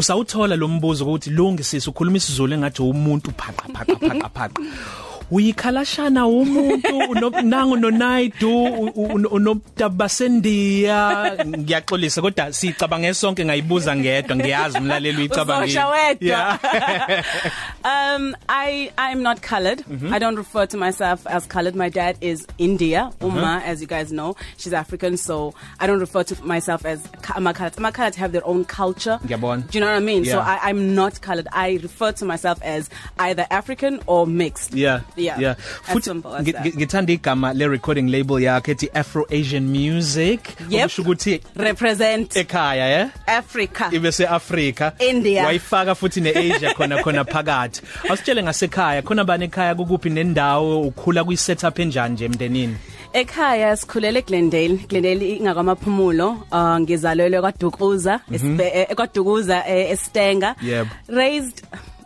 usawuthola lo mbuzo ukuthi lungisise ukhuluma isiZulu engathi umuntu phaqa phaqa phaqa phaqa uyikhalashana umuntu unobnango nonaidu unotabasendiya ngiyaxolisa kodwa sicabange sonke ngayibuza ngedwa ngiyazi umlaleli uyicabangile yeah um i i'm not colored mm Mm-hmm. -hmm. i don't refer to myself as colored my dad is india Uh-huh. umma mm -hmm. as you guys know she's african so i don't refer to myself as amakalat amakalat have their own culture Ngiyabona. do you know what i mean so Yeah. i i'm not colored i refer to myself as either african or mixed yeah yeah yeah As futhi simple as ngi- that. ngi- ngithanda igama le recording label yakhe ethi Afro Asian Music Yep. okusho ukuthi represent ekhaya eh africa ibe seAfrica India. wayifaka futhi neAsia khona khona phakathi awusitshele ngasekhaya khona bani ekhaya kukuphi nendawo ukhula kuyi setup enjani nje emndenini ekhaya sikhulele Glendale Glendale ingakamaphumulo uh, ngizalelwe kwaDukuza eh, kwaDukuza eStenga Yebo. raised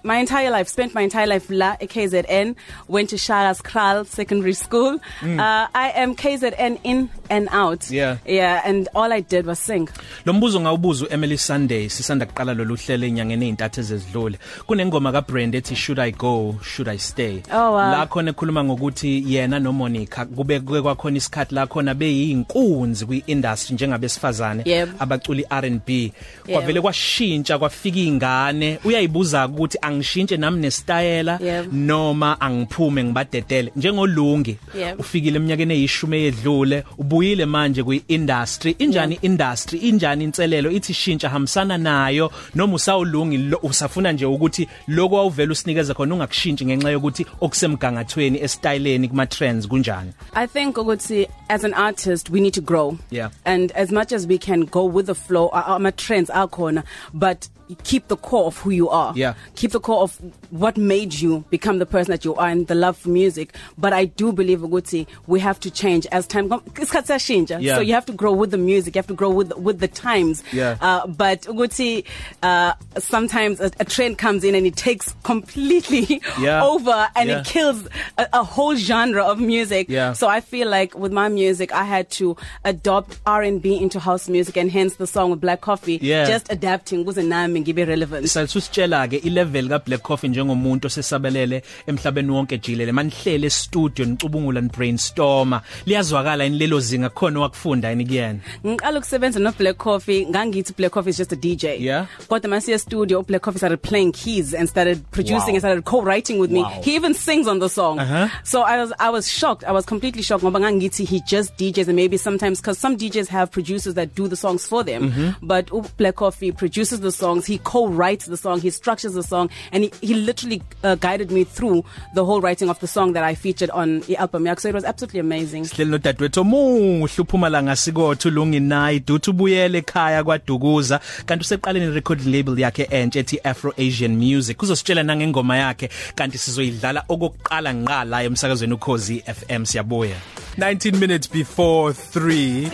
my entire life spent my entire life la eKZN went to Shara's Kral secondary school mm. uh, I am KZN in and out Yeah. yeah and all I did was sing lo mbuzo ngawubuza uEmily Sunday sisanda kuqala lolu hlelo enyangeni ezintathu ezedlule kunengoma kaBrand ethi should i go should i stay Oh, wow. la khona ekhuluma ngokuthi yena noMonica kube kuke kwakhona isikhathi la khona beyinkunzi kwiindustry njengabesifazane Yebo. abaculi R&B Yebo. kwavele kwashintsha kwafika ingane uyayibuza ukuthi angishintshe nami nestyle Yebo. noma angiphume ngibadedele njengolungi Yebo. ufikile eminyakeni eyishumi edlule ubuyile manje kwiindustry injani industry injani inselelo ithi shintsha hamsana nayo noma usawulungi lo- usafuna nje ukuthi lokho awuvela usinikeze khona ungakushintshi ngenxa yokuthi okusemgangathweni estyleni kuma trends kunjani I think ukuthi as an artist we need to grow. Yeah. And as much as we can go with the flow ama trends are khona but keep the core of who you are. Yeah. Keep the core of what made you become the person that you are and the love for music. But I do believe ukuthi we have to change as time comes. Isikhathi siyashintsha. Yeah. So you have to grow with the music, you have to grow with with the times. Yeah. Uh but ukuthi uh sometimes a, a trend comes in and it takes completely Yeah. over and Yeah. it kills a, a whole genre of music. Yeah. So I feel like with my music, I had to adopt R&B into house music, and hence the song with Black Coffee. Yeah. Just adapting kuze nami ngibe relevant. salisitshela ke ilevel ka Black Coffee njengomuntu osesabelele emhlabeni wonke jilele manihlele studio nicubungula ni brainstorma liyazwakala yini lelo zinga khona wakufunda yini kuyena Ngiqala ukusebenza no Black Coffee, ngangithi Black Coffee is just a DJ. Yeah. Kodwa masiya studio, Black Coffee started playing keys and started producing Wow. and started co-writing with me. Wow. He even sings on the song. Uh-huh. So I was I was shocked. I was completely shocked ngoba ngangithi he just DJs and maybe sometimes cuz some DJs have producers that do the songs for them. Mm-hmm. But U Black Coffee produces the songs, he co-writes the song, he structures the song and he, he literally uh, guided me through the whole writing of the song that I featured on the album. yakhe. So it was absolutely amazing. sihleli nodadewethu omuhle uPhumalanga Sikotho lungi nayi duthi ubuyele ekhaya kwaDukuza kanti useqaleni recording label yakhe entsha ethi Afro Asian Music kuzositshela nangengoma yakhe kanti sizoyidlala okokuqala ngqa la emsakazweni uKhozi FM siyabuya 19 minutes before 3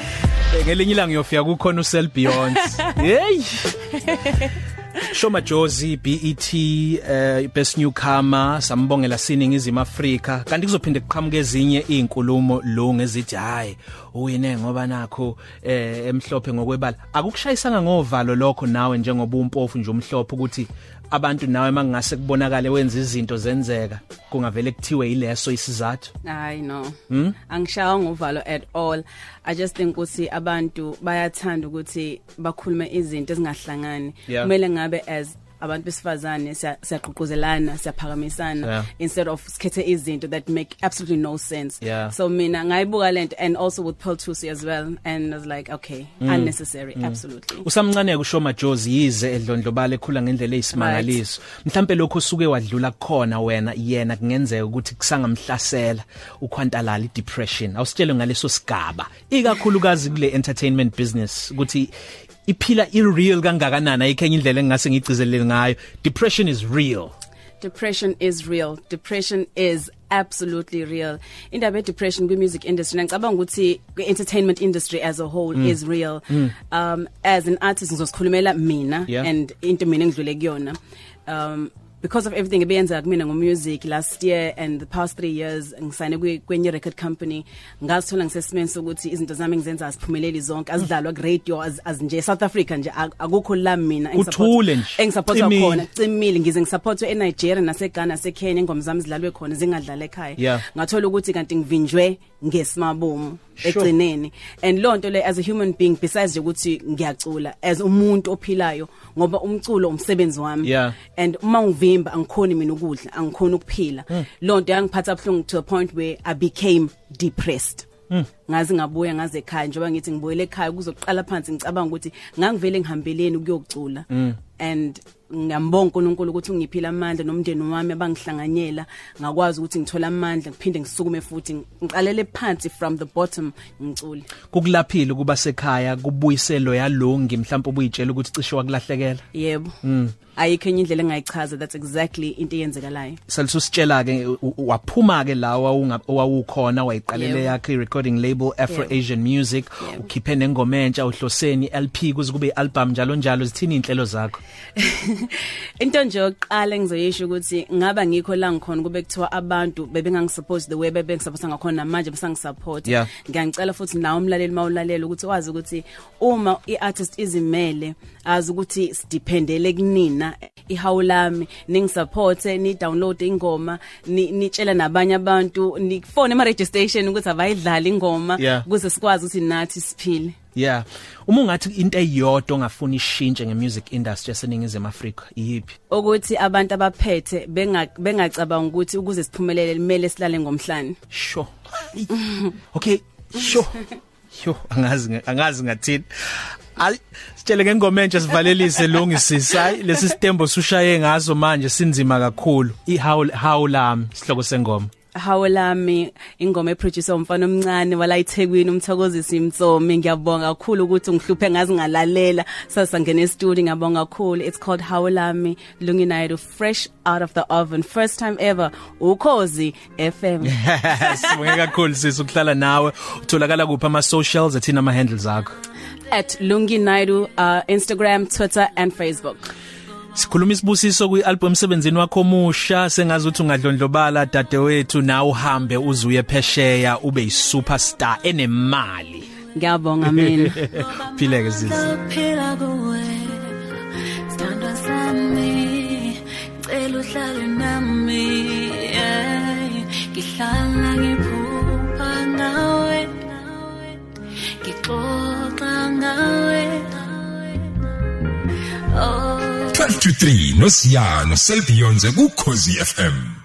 Eh, ngelinye ilanga ngiyofika kukhona uSel Beyond hey Shoma Jozi BET uh, E best newcomer sambongela siningizima Africa kanti kuzophinde kuqhamuke ezinye izinkulumo lo ngezithi hayi uyine ngoba nakho eh, emhlophe ngokwebala akukushayisanga ngovalo lokho nawe njengoba umpofu nje umhlophe ukuthi abantu nawe mangase kubonakale wenza izinto zenzeka kungavele kuthiwe ileso isizathu I know. Hmm? Mm? Angishaya ngovalo at all. I just think ukuthi abantu bayathanda ukuthi bakhulume izinto ezingahlangani. Yeah. Kumele ngabe as abantu besifazane siya- siyaqhuquzelana, siyaphakamisana Yeah. instead of sikhethe izinto that make absolutely no sense. Yeah. So mina ngayibuka lento and also with Paul Tusi as well and I was like okay, Hmm. mm. unnecessary mm. absolutely. usamncane kushoma Jozi yize edlondlobala ekhula ngendlela eyisimangaliso mhlambe lokho usuke wadlula khona wena yena kungenzeka ukuthi kusangamhlasela ukhwantalala idepression awusitshele ngaleso sigaba ikakhulukazi kule entertainment business ukuthi iphila ireal kangakanana ikhenye indlela engase ngigcizelele ngayo depression is real Depression is real. Depression is absolutely real. Indaba ye depression kwi music industry ngicabanga ukuthi kwi entertainment industry as a whole mm. is real. Mm. Um as an artist ngizosikhulumela mina Yeah. and into mina engidlule kuyona. Um because of everything ebeyenzeka kumina ngomusic last year and the past 3 years ngisayine kwe- kwenye record company ngazithola ngisesimeni sokuthi izinto zami ngizenza aziphumeleli zonke azidlalwa ku radio az, az nje South Africa nje ak- akukho la mina Uthule nje, engisupportwa cimile. khona cimile ngize ngisupportwe eNigeria naseGhana naseKenya ingoma zami zidlalwe khona zingadlala ekhaya Yeah. ngathola ukuthi kanti ngivinjwe ngesimabomu Sure. egcineni and lonto le as a human being besides nje ukuthi ngiyacula as umuntu ophilayo ngoba umculo umsebenzi wami Yeah. and uma ngivimba angikhoni mina ukudla angikhoni ukuphila lonto yangiphatha abhlungu to a point where i became depressed ngazi ngabuya ngaze ekhaya njoba ngithi ngibuyele ekhaya kuzoqala phansi ngicabanga ukuthi ngangivele ngihambeleni ukuyocula and ngiyambonga uNkulunkulu ukuthi ungiphile amandla nomndeni wami abangihlanganyela ngakwazi ukuthi ngithola amandla ngiphinde ngisukume futhi ngiqalele phansi from the bottom ngicule kukulaphile kuba sekhaya kubuyiselo yalongi mhlawumbe ubuyitshela ukuthi cishe wakulahlekela yebo ayikho enye indlela engayichaza that's exactly into eyenzekalayo salisitshela ke waphuma ke la wawukhona wayiqalele Yebo. yakhe recording label Afro Yebo. Asian Music Yebo. ukhiphe nengoma entsha uhloseni LP kuze kube ialbum njalo njalo zithini inhlelo zakho into nje yokuqala engizoyisho ukuthi ngaba ngikho la ngikhona kube kuthiwa abantu bebengangisupport the way bebengisupport ngakhona manje besangisupport Yeah. ngiyangicela futhi nawe umlaleli mawulalela ukuthi wazi ukuthi uma iartist izimele azi ukuthi sidependele kunina ihawu lami ningisupporte ni download ingoma ni- nitshela nabanye abantu ni phone ema radio station ukuthi abayidlala ingoma Yeah. ukuze sikwazi ukuthi nathi siphile yeah uma ungathi into eyodwa ongafuni ishintshe ngemusic industry yaseningizimu Afrika yipi ukuthi abantu abaphethe benga- bengacabanga ukuthi ukuze siphumelele kumele silale ngomhlanje sure okay sure yo angazi nge- angazi ngathini Ay, sitshele ngengoma entsha sivalelise lungisisa lesi stembo sushaye ngazo manje sinzima kakhulu ihowl howl lami sihloko sengoma hawo lami ingoma eproducer umfana omncane wala eThekwini umthokozisi imtsomi ngiyabonga kakhulu ukuthi ungihluphe ngazi ngalalela sasangena e-studio ngiyabonga kakhulu it's called hawo lami lungi night fresh out of the oven first time ever ukhozi FM sibonge kakhulu sisi ukuhlala nawe utholakala kuphi ama socials athina ama handles akho at lungi night uh, Instagram Twitter and Facebook Sikhuluma isibusiso kwialbum semsebenzini wakho omusha sengazi ukuthi ungadlondlobala dadewethu na uhambe uzuye phesheya ube yisuperstar enemali ngiyabonga mina phileke sisi Phila kuwe Sithandwa sami Cela uhlale nami yeah. Ngihlala ngiphupha ngawe Ngixoxa ngawe Oh 12 to 3 nosiyano selbionze kukhozi fm